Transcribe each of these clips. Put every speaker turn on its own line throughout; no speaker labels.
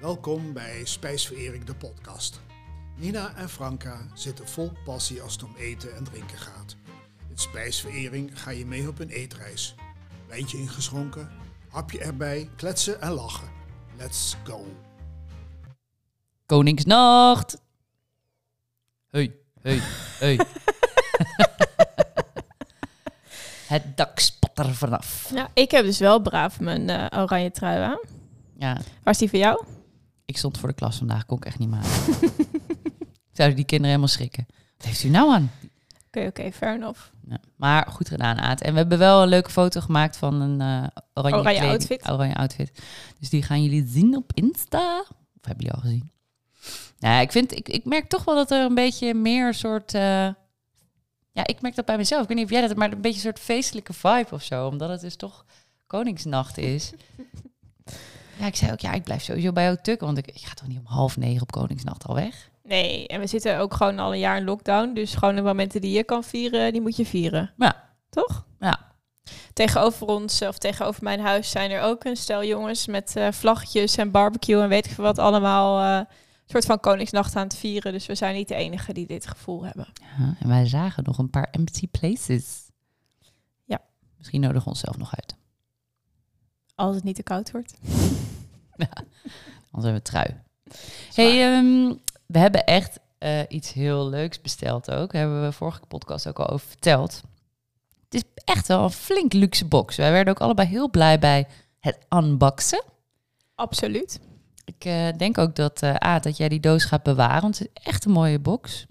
welkom bij Spijsverering de podcast. Nina en Franka zitten vol passie als het om eten en drinken gaat. In Spijsverering ga je mee op een eetreis. Wijntje ingeschonken, hapje erbij, kletsen en lachen. Let's go.
Koningsnacht. Hey, hey, hey. het dak spat er vanaf.
Nou, ik heb dus wel braaf mijn eh, oranje trui aan.
Ja,
Waar is die voor jou?
ik stond voor de klas vandaag, kon ik echt niet maken. Zouden die kinderen helemaal schrikken. Wat heeft u nou aan?
Oké, oké, fair enough.
Ja, maar goed gedaan, Aad. En we hebben wel een leuke foto gemaakt van een eh, oranje,
Oranje
kleding-
outfit.
oranje outfit. Dus die gaan jullie zien op Insta. Of hebben jullie al gezien? Nou, ik, vind, ik, ik merk toch wel dat er een beetje meer soort... eh, ja, ik merk dat bij mezelf. Ik weet niet of jij dat hebt, maar een beetje een soort feestelijke vibe of zo. Omdat het dus toch Koningsnacht is. ja, ik zei ook, ja, ik blijf sowieso bij jou tukken. Want ik, ik ga toch niet om half negen op Koningsnacht al weg?
Nee, en we zitten ook gewoon al een jaar in lockdown. Dus gewoon de momenten die je kan vieren, die moet je vieren.
Ja.
Toch?
Ja.
Tegenover ons, of tegenover mijn huis, zijn er ook een stel jongens met eh, vlaggetjes en barbecue en weet ik veel wat allemaal. eh, een soort van Koningsnacht aan het vieren. Dus we zijn niet de enigen die dit gevoel hebben.
Ja, Eh, en wij zagen nog een paar empty places.
Ja.
Misschien nodigen we onszelf nog uit.
Als het niet te koud wordt.
Anders hebben we trui. hey, ehm, we hebben echt eh, iets heel leuks besteld ook. Daar hebben we vorige podcast ook al over verteld. Het is echt wel een flink luxe box. Wij werden ook allebei heel blij bij het unboxen.
Absoluut.
Ik eh, denk ook dat, eh A, dat jij die doos gaat bewaren. Want het is echt een mooie box.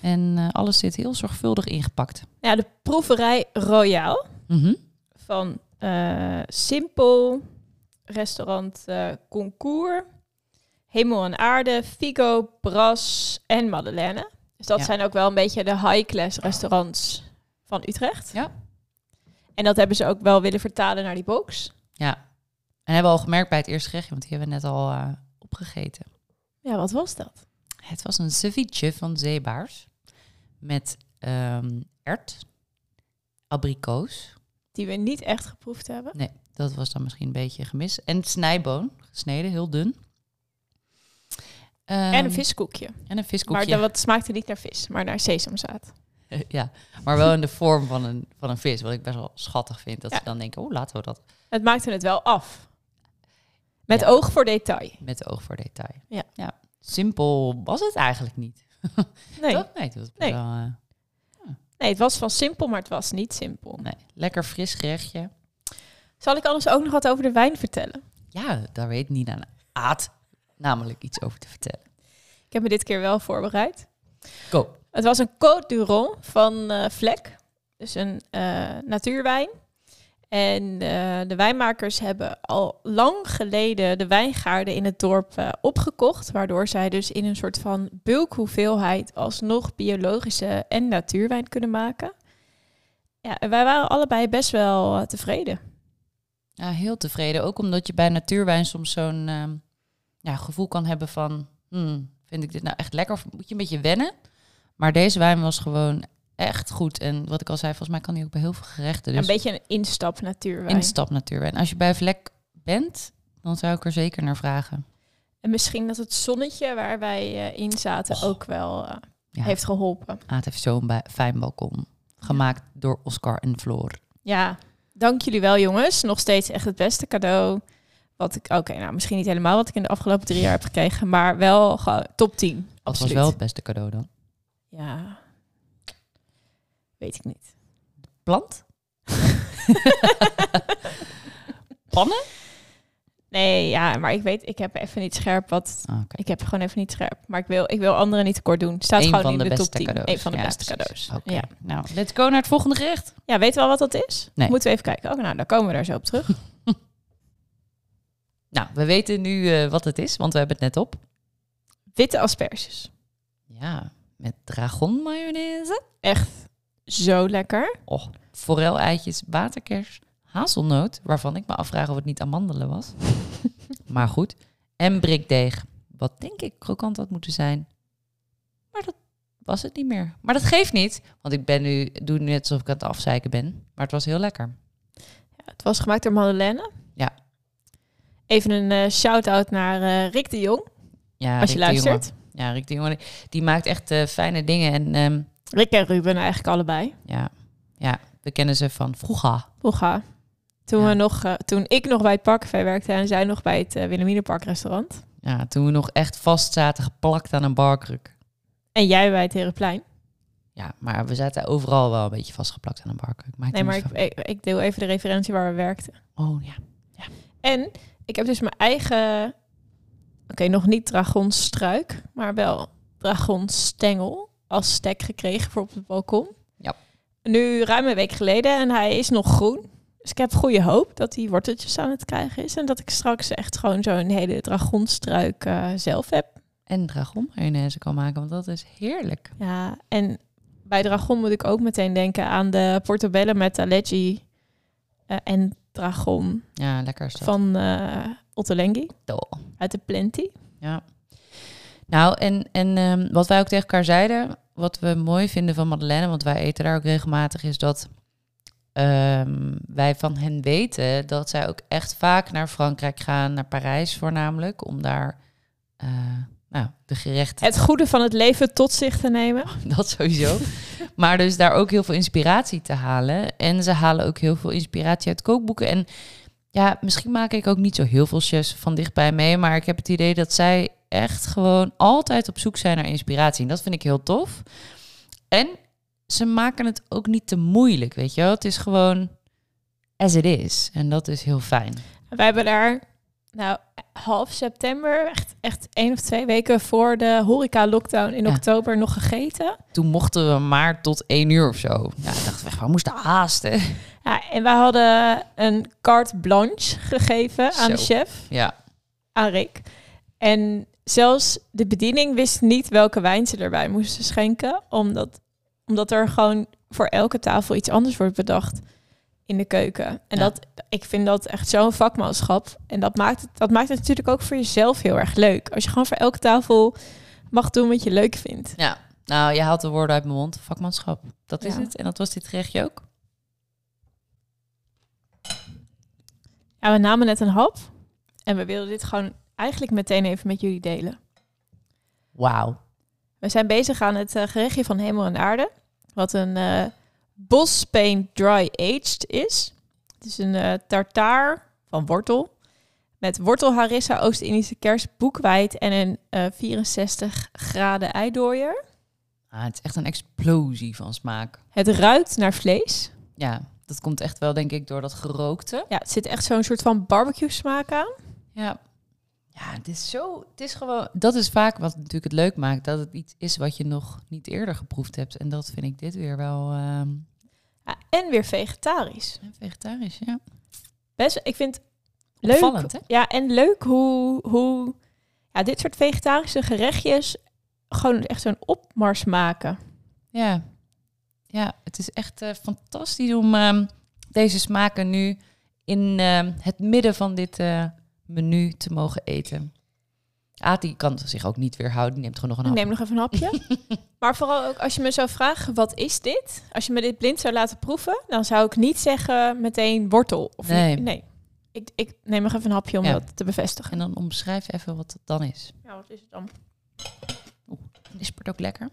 En eh, alles zit heel zorgvuldig ingepakt.
Nou, de proeverij Royaal.
Mhm.
van eh, Simpel, restaurant eh, Concours, Hemel en Aarde, Figo, Bras en Madeleine. Dus dat
Ja.
zijn ook wel een beetje de high-class restaurants van Utrecht.
Ja.
En dat hebben ze ook wel willen vertalen naar die box.
En hebben we al gemerkt bij het eerste gerechtje, want die hebben we net al eh, opgegeten.
Ja, wat was dat?
Het was een ceviche van zeebaars met ehm ert, abrikoos.
Die we niet echt geproefd hebben.
Nee, dat was dan misschien een beetje gemis. En snijboon, gesneden, heel dun. Ehm,
en een viskoekje.
En een
Maar
viskoekje.
dat wat smaakte niet naar vis, maar naar sesamzaad.
ja, maar wel in de vorm van een, van een vis, wat ik best wel schattig vind. Dat
Ja.
ze dan denken, oh, laten we dat
Het maakte het wel af. Met
Ja.
oog voor detail.
met oog voor detail.
Ja.
ja. Simpel was het eigenlijk niet.
Nee.
Toch? Nee, het was
Nee.
wel... eh,
nee, het was van simpel, maar het was niet simpel.
nee. Lekker fris gerechtje.
Zal ik anders ook nog wat over de wijn vertellen?
Ja, daar weet Nina aan Aad namelijk iets over te vertellen.
Ik heb me dit keer wel voorbereid.
Go.
Het was een Côte du Rhône van eh Vlek. Dus een eh, natuurwijn. En eh, de wijnmakers hebben al lang geleden de wijngaarden in het dorp eh, opgekocht. Waardoor zij dus in een soort van bulkhoeveelheid alsnog biologische en natuurwijn kunnen maken. Ja, en wij waren allebei best wel eh, tevreden.
Ja, heel tevreden. Ook omdat je bij natuurwijn soms zo'n ehm, ja, gevoel kan hebben van... hmm, vind ik dit nou echt lekker of moet je een beetje wennen? Maar deze wijn was gewoon echt goed. En wat ik al zei, volgens mij kan die ook bij heel veel gerechten.
een
Dus
beetje een instap natuurwijn.
instap natuurwijn. Als je bij Vlek bent, dan zou ik er zeker naar vragen.
en misschien dat het zonnetje waar wij eh, in zaten
Och.
ook wel eh,
Ja.
heeft geholpen.
Aad heeft zo'n bij- fijn balkon. Gemaakt door Oscar en Floor.
Ja, dank jullie wel, jongens. Nog steeds echt het beste cadeau. Wat ik, oké, nou misschien niet helemaal wat ik in de afgelopen drie jaar heb gekregen, maar wel gewoon top 10.
Dat was
Absoluut.
wel Oh, het beste cadeau dan.
Ja, weet ik niet.
Plant?
Nee, ja, maar ik weet, ik heb even niet scherp wat.
Ah, oké.
Ik heb gewoon even niet scherp, maar ik wil, ik wil anderen niet tekort doen. Staat
Eén
gewoon
van
in
de
de, top
beste
10.
cadeaus.
Een van de
Ja,
beste
precies.
cadeaus.
Oké.
Ja.
Nou, let's go naar het volgende gerecht.
ja, weet wel wat dat is?
Nee.
Moeten we even kijken. Oh, nou, daar komen we daar zo op terug.
Nou, we weten nu eh, wat het is, want we hebben het net op.
Witte asperges.
Ja, met dragon mayonaise.
Zo lekker.
Och, forel eitjes, waterkers, hazelnoot, waarvan ik me afvraag of het niet amandelen was. maar goed. En brikdeeg, wat denk ik krokant had moeten zijn. Maar dat was het niet meer. Maar dat geeft niet, want ik ben nu, doe nu net alsof ik aan het afzeiken ben. Maar het was heel lekker.
Het was gemaakt door Madeleine.
Ja.
Even een eh, shout-out naar eh, Rick de Jong,
Ja,
als je
Rick de Jonge.
luistert.
Ja, Rick de Jonge. Die maakt echt eh, fijne dingen. En ehm,
Rick en Ruben eigenlijk allebei.
ja, ja, we kennen ze van vroeger.
Hoega. Toen,
Ja.
we nog, eh, toen ik nog bij het Parkcafé werkte en zij nog bij het eh, Willeminepark restaurant.
Ja, toen we nog echt vast zaten geplakt aan een barkruk.
En jij bij het Herenplein.
Ja, maar we zaten overal wel een beetje vastgeplakt aan een barkruk. Maakt
Nee,
niet
maar ik,
zoveel uit.
ik, ik deel even de referentie waar we werkten.
Oh ja.
En ik heb dus mijn eigen... Oké, nog niet dragonstruik, maar wel dragonstengel als stek gekregen voor op het balkon.
Ja.
Nu ruim een week geleden en hij is nog groen. Dus ik heb goede hoop dat hij worteltjes aan het krijgen is. En dat ik straks echt gewoon zo'n hele dragonstruik eh, zelf heb.
En dragon mayonaise kan maken, want dat is heerlijk.
Ja, en bij Dragon moet ik ook meteen denken aan de Portobello met Allergie eh, en Dragon
Ja, lekker is dat.
van eh Ottolenghi
Dol.
uit de Plenty.
Ja. Nou, en, en ehm, wat wij ook tegen elkaar zeiden, wat we mooi vinden van Madeleine, want wij eten daar ook regelmatig, is dat ehm, wij van hen weten dat zij ook echt vaak naar Frankrijk gaan, naar Parijs voornamelijk, om daar eh, nou, de gerechten
Het goede van het leven tot zich te nemen.
dat sowieso. maar dus daar ook heel veel inspiratie te halen. En ze halen ook heel veel inspiratie uit kookboeken. En ja, misschien maak ik ook niet zo heel veel chefs van dichtbij mee. Maar ik heb het idee dat zij echt gewoon altijd op zoek zijn naar inspiratie. En dat vind ik heel tof. En ze maken het ook niet te moeilijk, weet je wel. Het is gewoon as it is. En dat is heel fijn.
Wij hebben daar nou, half september, echt, echt één of twee weken voor de horeca-lockdown in
Ja.
oktober nog gegeten.
Toen mochten we maar tot één uur of zo. Ja, ik dacht, echt, we moesten haasten.
Ja, en wij hadden een carte blanche gegeven aan de
Zo.
chef.
Ja,
aan Rick. En zelfs de bediening wist niet welke wijn ze erbij moesten schenken, omdat, omdat er gewoon voor elke tafel iets anders wordt bedacht in de keuken. En
Ja.
dat, ik vind dat echt zo'n vakmanschap. En dat maakt, het, dat maakt het natuurlijk ook voor jezelf heel erg leuk. Als je gewoon voor elke tafel mag doen wat je leuk vindt.
Ja, nou, je haalt de woorden uit mijn mond. Vakmanschap. Dat is
Ja.
het. En dat was dit gerechtje ook.
Ja, we namen net een hap en we wilden dit gewoon eigenlijk meteen even met jullie delen.
Wauw.
We zijn bezig aan het eh, gerechtje van hemel en aarde. Wat een eh bospain dry aged is. Het is een eh tartaar van wortel. Met wortel, harissa, Oost-Indische kers, boekweit en een eh, 64 graden eidooier.
Ah, het is echt een explosie van smaak.
Het ruikt naar vlees.
Ja, dat komt echt wel, denk ik, door dat gerookte.
Ja, het zit echt zo'n soort van barbecue smaak aan.
Ja. Ja, het is zo... Het is gewoon... Dat is vaak wat natuurlijk het leuk maakt. Dat het iets is wat je nog niet eerder geproefd hebt. En dat vind ik dit weer wel... ehm,
Ja, en weer vegetarisch.
vegetarisch, ja.
Best, ik vind het leuk.
Opvallend, hè?
Ja, en leuk hoe, hoe ja, dit soort vegetarische gerechtjes gewoon echt zo'n opmars maken.
Ja, ja het is echt eh, fantastisch om ehm, deze smaken nu in ehm, het midden van dit eh, menu te mogen eten. Ati kan zich ook niet weerhouden, die neemt gewoon nog een hap.
Ik neem nog even een hapje. maar vooral ook als je me zou vragen, wat is dit? Als je me dit blind zou laten proeven, dan zou ik niet zeggen meteen wortel. Of
Nee.
niet- nee. Ik, ik neem nog even een hapje om
Ja.
dat te bevestigen.
En dan omschrijf even wat het dan is.
Ja, wat is het dan?
Is het ook lekker?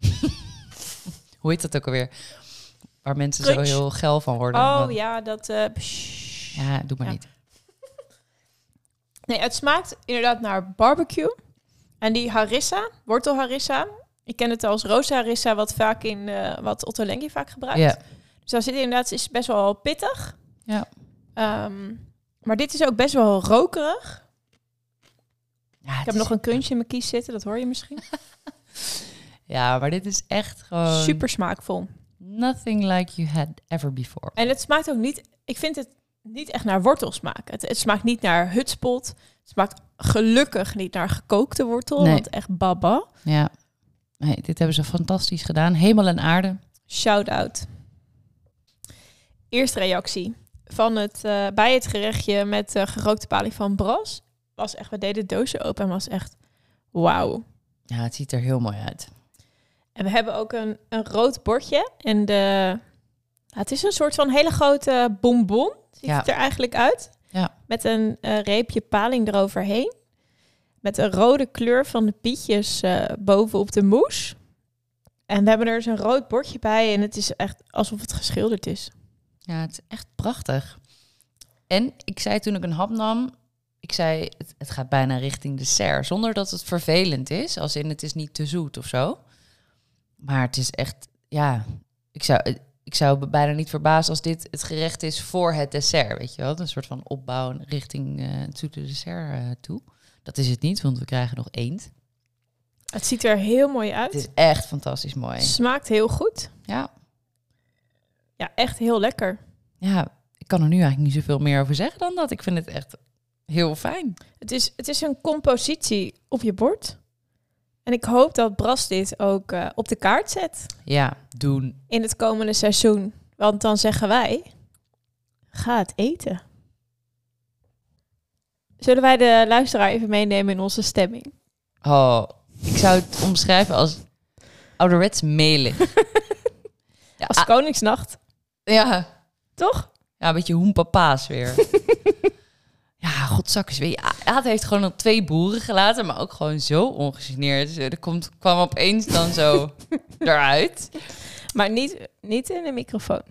Hoe heet dat ook alweer? Waar mensen
Crunch.
zo heel geil van worden.
Oh
Want-
ja, dat... eh, psh.
Ja, doe maar
Ja.
niet.
Nee, het smaakt inderdaad naar barbecue. En die harissa, wortel harissa. Ik ken het als roze harissa, wat vaak in eh, wat Otto Lengi vaak gebruikt.
Ja,
Dus daar zit inderdaad is best wel pittig.
Ja.
Ehm, maar dit is ook best wel rokerig.
ja,
Ik heb nog een crunch in mijn kies zitten, dat hoor je misschien.
ja maar dit is echt gewoon...
Super smaakvol.
Nothing like you had ever before.
En het smaakt ook niet, ik vind het niet echt naar wortel smaken. Het, het smaakt niet naar hutspot. Het smaakt gelukkig niet naar gekookte wortel,
Nee.
want echt baba.
Ja, nee, dit hebben ze fantastisch gedaan. Hemel en aarde.
Shout out. Eerste reactie van het, eh, bij het gerechtje met eh, gerookte paling van Bras. Was echt, we deden de dozen open en was echt wauw.
Ja, het ziet er heel mooi uit.
En we hebben ook een, een rood bordje. En de, ja, het is een soort van hele grote bonbon. Ziet
Ja.
het er eigenlijk uit.
Ja.
met een eh, reepje paling eroverheen. Met een rode kleur van de pietjes eh bovenop de moes. En we hebben er eens een rood bordje bij en het is echt alsof het geschilderd is.
Ja, het is echt prachtig. En ik zei toen ik een hap nam, ik zei het, het gaat bijna richting dessert. Zonder dat het vervelend is, als in het is niet te zoet of zo. Maar het is echt, ja, ik zou, ik zou me bijna niet verbazen als dit het gerecht is voor het dessert. Weet je wel, een soort van opbouw richting eh, het zoete dessert eh, toe. Dat is het niet, want we krijgen nog eend.
Het ziet er heel mooi
Het
uit.
is echt fantastisch mooi.
Smaakt heel goed.
Ja,
Ja, echt heel lekker.
ja, ik kan er nu eigenlijk niet zoveel meer over zeggen dan dat. Ik vind het echt heel fijn.
Het is, het is een compositie op je bord. En ik hoop dat Bras dit ook eh, op de kaart zet
Ja, doen.
in het komende seizoen. Want dan zeggen wij, ga het eten. Zullen wij de luisteraar even meenemen in onze stemming?
Oh, ik zou het omschrijven als ouderwets melig. ja,
Als
ah,
Koningsnacht,
ja.
toch?
ja, een beetje hoenpapa's weer. ja, godzakkers. Weet je, A- Aad heeft gewoon al twee boeren gelaten, maar ook gewoon zo ongegeneerd. Dus eh, er komt, kwam opeens dan zo eruit.
Maar niet, niet in de microfoon.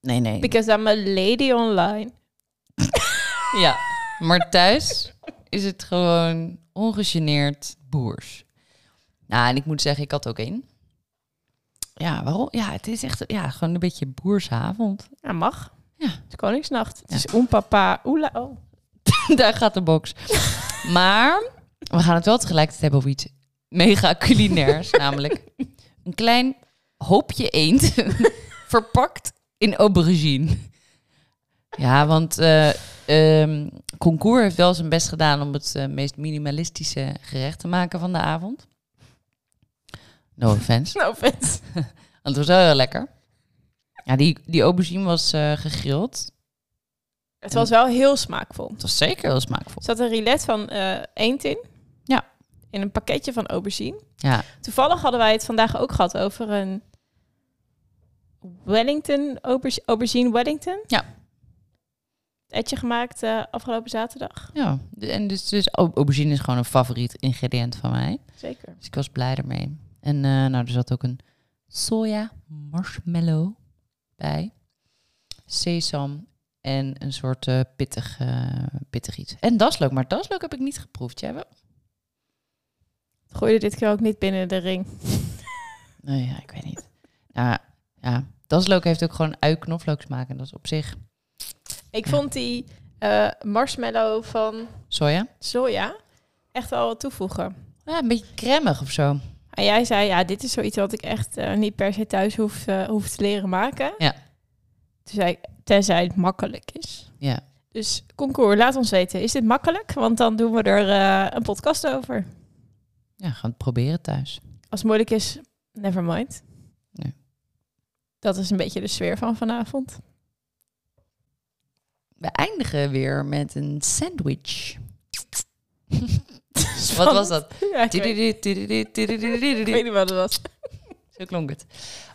Nee, nee.
Because I'm a lady online.
Ja, maar thuis is het gewoon ongegeneerd boers. Nou, en ik moet zeggen, ik had ook één. Ja, waarom? Ja, het is echt ja, gewoon een beetje boersavond.
Ja, mag.
Ja.
Het is Koningsnacht. Het
Ja.
is onpapa. Oela. Oh.
Daar gaat de box. Maar we gaan het wel tegelijkertijd hebben over iets mega culinairs. namelijk een klein hoopje eend verpakt in aubergine. Ja, want eh ehm, Concours heeft wel zijn best gedaan om het eh, meest minimalistische gerecht te maken van de avond. No offense.
No offense.
Want het was wel heel lekker. Ja, die, die aubergine was eh, gegrild.
Het was wel heel smaakvol.
Het was zeker heel smaakvol.
Er zat een rilet van eh eend in.
Ja.
In een pakketje van aubergine.
Ja,
Toevallig hadden wij het vandaag ook gehad over een Wellington, auber- aubergine Wellington.
Ja.
Etje gemaakt eh, afgelopen zaterdag.
Ja, de- en dus, dus au- aubergine is gewoon een favoriet ingrediënt van mij.
Zeker.
Dus ik was blij ermee. En eh, nou, er zat ook een soja marshmallow bij. Sesam en een soort eh, pittig, eh, pittig iets. En daslook, maar daslook heb ik niet geproefd. Jij wel?
Het gooide dit keer ook niet binnen de ring.
Nou ja, ik weet niet. Ja, Nou, ja, daslook heeft ook gewoon ui knoflook smaak. En dat is op zich
Ik
Ja.
vond die eh, marshmallow van
soja.
soja echt al wat toevoegen.
Ja, een beetje cremig of zo.
En jij zei, ja, dit is zoiets wat ik echt eh, niet per se thuis hoef, eh, hoef te leren maken.
Ja.
Toen zei ik, tenzij het makkelijk is.
Ja.
Dus Concours, laat ons weten. Is dit makkelijk? Want dan doen we er eh, een podcast over.
ja, gaan het proberen thuis.
Als het moeilijk is, never mind.
Nee.
Dat is een beetje de sfeer van vanavond.
We eindigen weer met een sandwich. Wat was dat?
Ja, ik, weet,
Tididid, tididid, tididid,
ik weet niet wat het was.
Zo klonk het.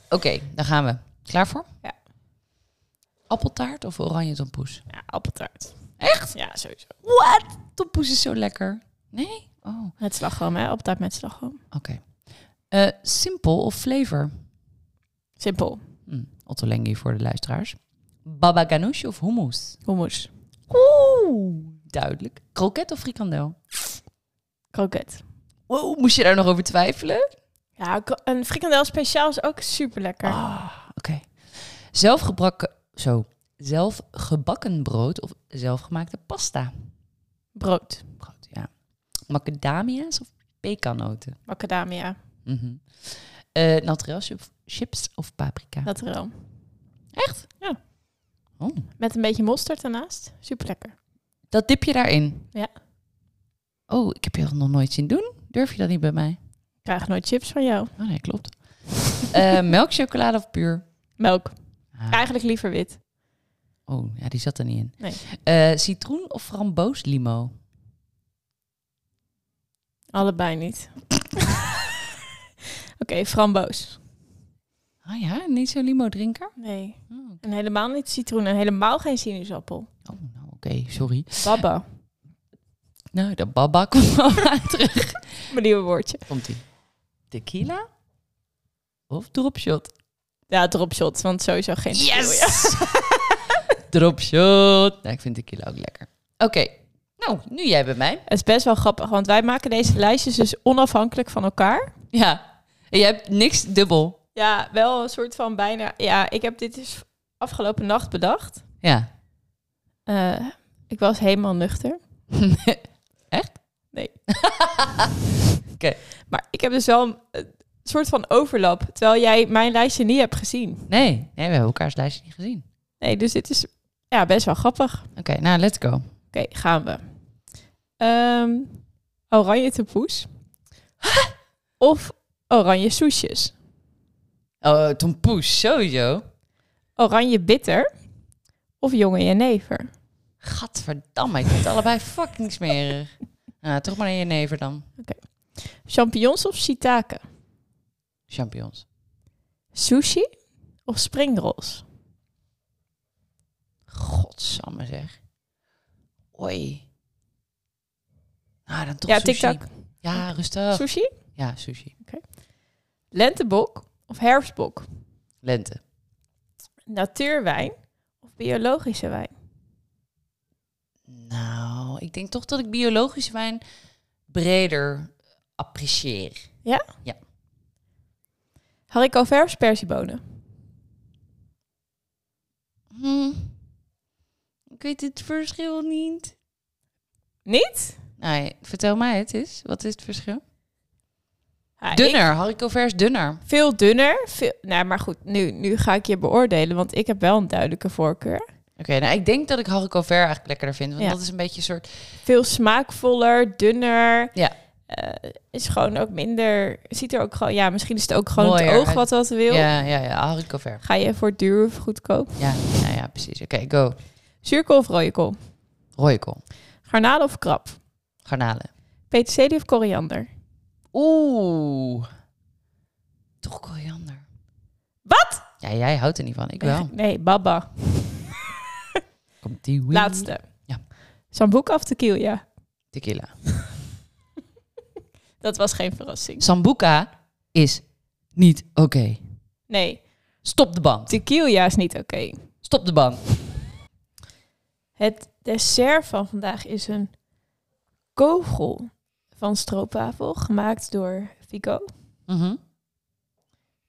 Oké, daar gaan we. Klaar voor?
Ja.
Appeltaart of oranje tompoes?
Ja, appeltaart.
Echt?
Ja, sowieso.
Wat? Tompoes is zo lekker. Nee? Oh, oké.
Met slagroom, hè? Appeltaart met slagroom.
Eh, simpel of flavor?
Simpel.
Hm, Otto Lengi voor de luisteraars. Baba ganoush of hummus?
Hummus.
Oeh, duidelijk. Kroket of frikandel?
Kroket.
Wow, moest je daar nog over twijfelen?
Ja, kro- een frikandel speciaal is ook super lekker.
Ah, oké. Zelfgebakken, zo. Zelfgebakken brood of zelfgemaakte pasta?
Brood.
Brood, ja. Macadamia's of pekanoten?
Macadamia.
Mhm. Eh, naturel chip- chips of paprika?
Naturel.
Echt?
Ja.
Oh.
Met een beetje mosterd ernaast. Super lekker.
Dat dip je daarin?
Ja.
Oh, ik heb je dat nog nooit zien doen. Durf je dat niet bij mij?
Ik krijg nooit chips van jou.
Oh nee, klopt. Eh melkchocolade of puur?
Melk.
Ah,
Eigenlijk liever wit.
Oh, ja, die zat er niet in.
Nee.
Eh, citroen of framboos-limo?
Allebei niet. Oké, framboos.
Ah ja, niet zo'n limo-drinker?
Nee.
Oh,
En helemaal niet citroen en helemaal geen sinaasappel.
oh, nou, oké. sorry.
Babba.
Nou, de baba komt wel aan terug.
Mijn nieuwe woordje.
Komt ie. Tequila of dropshot?
Ja, dropshot, want sowieso geen tequila.
dropshot. Nou, ik vind tequila ook lekker. Oké, nou, nu jij bij mij.
Het is best wel grappig, want wij maken deze lijstjes dus onafhankelijk van elkaar.
Ja, en jij hebt niks dubbel.
Ja, wel een soort van bijna... Ja, ik heb dit dus afgelopen nacht bedacht.
Ja.
Eh, ik was helemaal nuchter.
Echt?
Nee.
Oké.
Maar ik heb dus wel een, een soort van overlap, terwijl jij mijn lijstje niet hebt gezien.
Nee, nee, we hebben elkaars lijstje niet gezien.
Nee, dus dit is ja, best wel grappig.
Oké, nou, let's go.
Oké, gaan we. Ehm, oranje tompoes. of oranje soesjes.
Oh, Tom Poes, sowieso.
Oranje bitter. Of jonge jenever.
Gadverdamme, ik vind het allebei fucking smerig. Nou, toch maar naar je never dan.
Champignons of shiitake.
Champignons.
Sushi of springrolls.
Godsamme zeg. Oei. Nou, dan toch
ja,
sushi.
tic-tac.
Ja, rustig.
Sushi.
Ja, sushi.
Lentebok of herfstbok.
Lente.
Natuurwijn of biologische wijn.
Nou, ik denk toch dat ik biologische wijn breder apprecieer.
Haricot vers persiebonen.
Hm. Ik weet het verschil niet.
Niet?
Nee, vertel mij het is. Wat is het verschil?
Ja, ik-
Dunner, haricot vers dunner.
veel dunner. Veel, nou, maar goed, nu, nu ga ik je beoordelen, want ik heb wel een duidelijke voorkeur.
Oké, nou ik denk dat ik haricot vers eigenlijk lekkerder vind. Want
Ja.
dat is een beetje een soort...
veel smaakvoller, dunner.
Ja.
Eh, is gewoon ook minder. Ziet er ook gewoon. Ja, misschien is het ook gewoon het
Mooier
oog
uit.
wat dat wil.
Ja, ja, ja, haricot vers.
Ga je voor duur of goedkoop?
Ja, nou ja, precies. Oké, go.
Zuurkool of rode kool?
Rooikool.
Garnalen of krab?
Garnalen.
Peterselie of koriander?
Oeh. Toch koriander.
Wat?
Ja, jij houdt er niet van. Ik wel.
Nee, baba.
Komt die wee-
Laatste.
Ja.
Sambuca of tequila?
Tequila.
Dat was geen verrassing.
Sambuca is niet oké.
Nee,
Stop de band.
tequila is niet oké.
Stop de band.
Het dessert van vandaag is een kogel van stroopwafel gemaakt door Vico.
Mhm.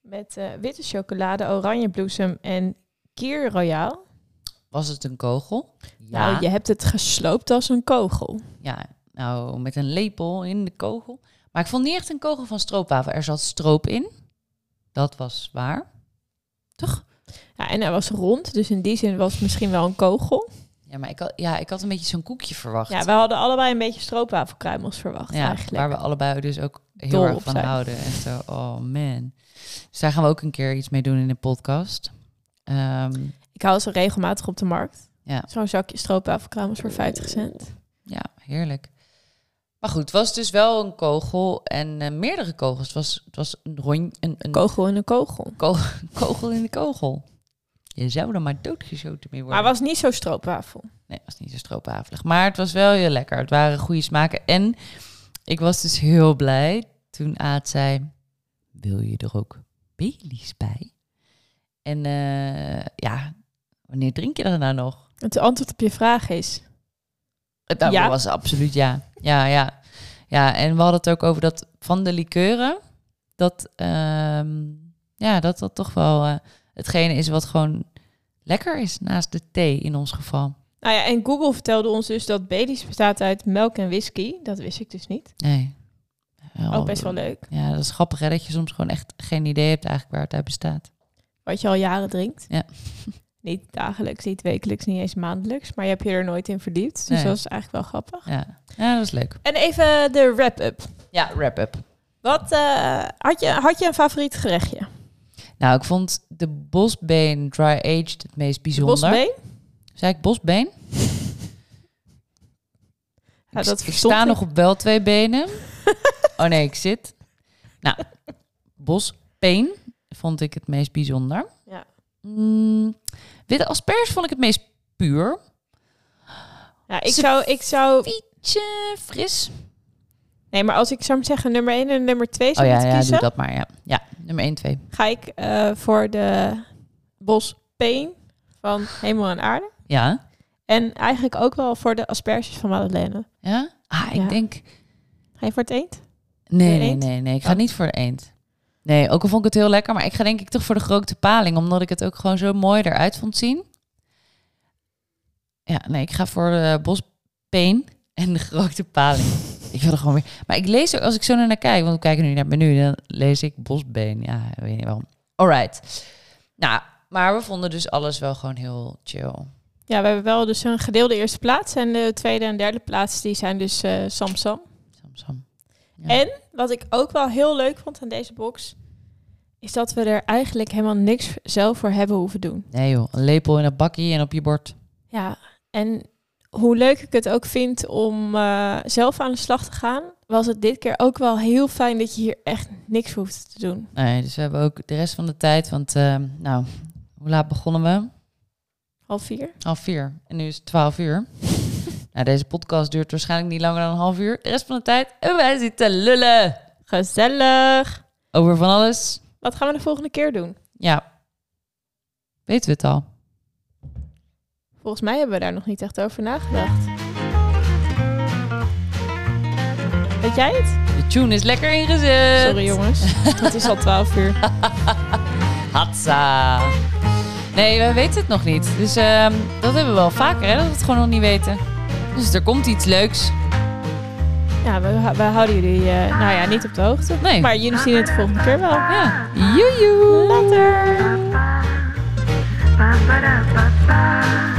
Met eh, witte chocolade, oranje bloesem en kier royaal.
Was het een kogel? Ja.
Nou, je hebt het gesloopt als een kogel.
ja. Nou, met een lepel in de kogel. Maar ik vond niet echt een kogel van stroopwafel. Er zat stroop in. Dat was waar.
Ja, en hij was rond, dus in die zin was het misschien wel een kogel.
Ja, maar ik had, ja, ik had een beetje zo'n koekje verwacht.
Ja, we hadden allebei een beetje stroopwafelkruimels verwacht
Ja,
eigenlijk.
waar we allebei dus ook heel
Dol op
erg van
zijn.
houden. En zo, oh man. Dus daar gaan we ook een keer iets mee doen in de podcast. Ehm,
Ik haal ze regelmatig op de markt.
Ja. Mm.
Zo'n zakje stroopwafelkruimels voor 50 cent.
ja, heerlijk. Maar goed, het was dus wel een kogel en eh, meerdere kogels. Het was, het was een, rond, een, een
Kogel in een kogel.
kogel in de kogel. Je zou er maar doodgeschoten mee
Maar
worden.
was niet zo stroopwafel.
Nee, het was niet zo stroopwafelig. Maar het was wel heel lekker. Het waren goede smaken. En ik was dus heel blij toen Aad zei... Wil je er ook Baileys bij? En eh, ja, wanneer drink je dat nou nog?
Het antwoord op je vraag is...
Het antwoord
Ja.
was absoluut ja. Ja, ja. Ja, en we hadden het ook over dat van de likeuren... dat ehm, ja, dat, dat toch wel eh, hetgene is wat gewoon lekker is... naast de thee in ons geval.
Nou ja, en Google vertelde ons dus dat Baileys bestaat uit melk en whisky. Dat wist ik dus niet.
Nee. Oh,
Ook Oh, best wel leuk.
Ja, dat is grappig hè, dat je soms gewoon echt geen idee hebt eigenlijk waar het uit bestaat.
Wat je al jaren drinkt.
Ja.
Niet dagelijks, niet wekelijks, niet eens maandelijks. Maar je hebt je er nooit in verdiept. Dus
Nee.
dat is eigenlijk wel grappig.
Ja, ja dat is leuk.
En even de wrap-up.
Ja, wrap-up.
Wat eh, had, je, had je een favoriet gerechtje?
Nou, ik vond de bosbeen dry-aged het meest bijzonder.
Bosbeen?
Zei ik bosbeen?
Ja,
ik,
Nou, dat
ik
verstond
sta
ik.
nog op wel twee benen. oh nee, ik zit. Nou, bosbeen vond ik het meest bijzonder.
Ja.
Mm, witte asperge vond ik het meest puur.
Nou, ik
Ze-
zou, ik zou...
Beetje fris.
Nee, maar als ik zou zeggen nummer 1 en nummer 2
Oh
zou
ja,
moeten
ja,
kiezen...
doe dat maar. Ja, ja nummer 1, 2.
ga ik eh, voor de Bos Pain van Hemel en Aarde.
Ja?
En eigenlijk ook wel voor de asperges van Madeleine.
Ja? Ah, ik
Ja.
denk...
Ga je voor het eend?
Nee,
De
nee,
eend?
nee, nee. Ik ga
Oh.
niet voor de eend. Nee, ook al vond ik het heel lekker, maar ik ga denk ik toch voor de grote paling, omdat ik het ook gewoon zo mooi eruit vond zien. Ja, nee, ik ga voor de bospeen en de grote paling. ik wil er gewoon weer. Maar ik lees ook als ik zo naar kijk, want we kijken nu naar het menu, dan lees ik bosbeen. Ja, ik weet niet waarom. Alright. Nou, maar we vonden dus alles wel gewoon heel chill.
Ja, we hebben wel dus een gedeelde eerste plaats. En de tweede en derde plaats die zijn dus eh Sam Sam.
Sam, Sam. Ja.
En wat ik ook wel heel leuk vond aan deze box... is dat we er eigenlijk helemaal niks zelf voor hebben hoeven doen.
Nee joh, een lepel in een bakkie en op je bord.
Ja, en hoe leuk ik het ook vind om eh, zelf aan de slag te gaan... was het dit keer ook wel heel fijn dat je hier echt niks voor hoeft te doen.
Nee, dus we hebben ook de rest van de tijd, want ehm, nou, hoe laat begonnen we?
Half vier.
Half vier. En nu is het twaalf uur. nou, deze podcast duurt waarschijnlijk niet langer dan een half uur. De rest van de tijd hebben wij zitten lullen
Gezellig.
over van alles.
Wat gaan we de volgende keer doen?
Ja, weten we het al.
Volgens mij hebben we daar nog niet echt over nagedacht. Weet jij het?
De tune is lekker ingezet.
Sorry jongens, Eh, het is al 12 uur.
Hatsa. Nee, we weten het nog niet. Dus ehm, dat hebben we wel vaker, hè, dat we het gewoon nog niet weten. Dus er komt iets leuks.
Ja, we, we houden jullie, eh, nou ja, niet op de hoogte.
Nee.
Maar jullie zien het de volgende keer wel.
Ja, Ah, joejoe.
Later!
Ba-ba-da-ba-ba.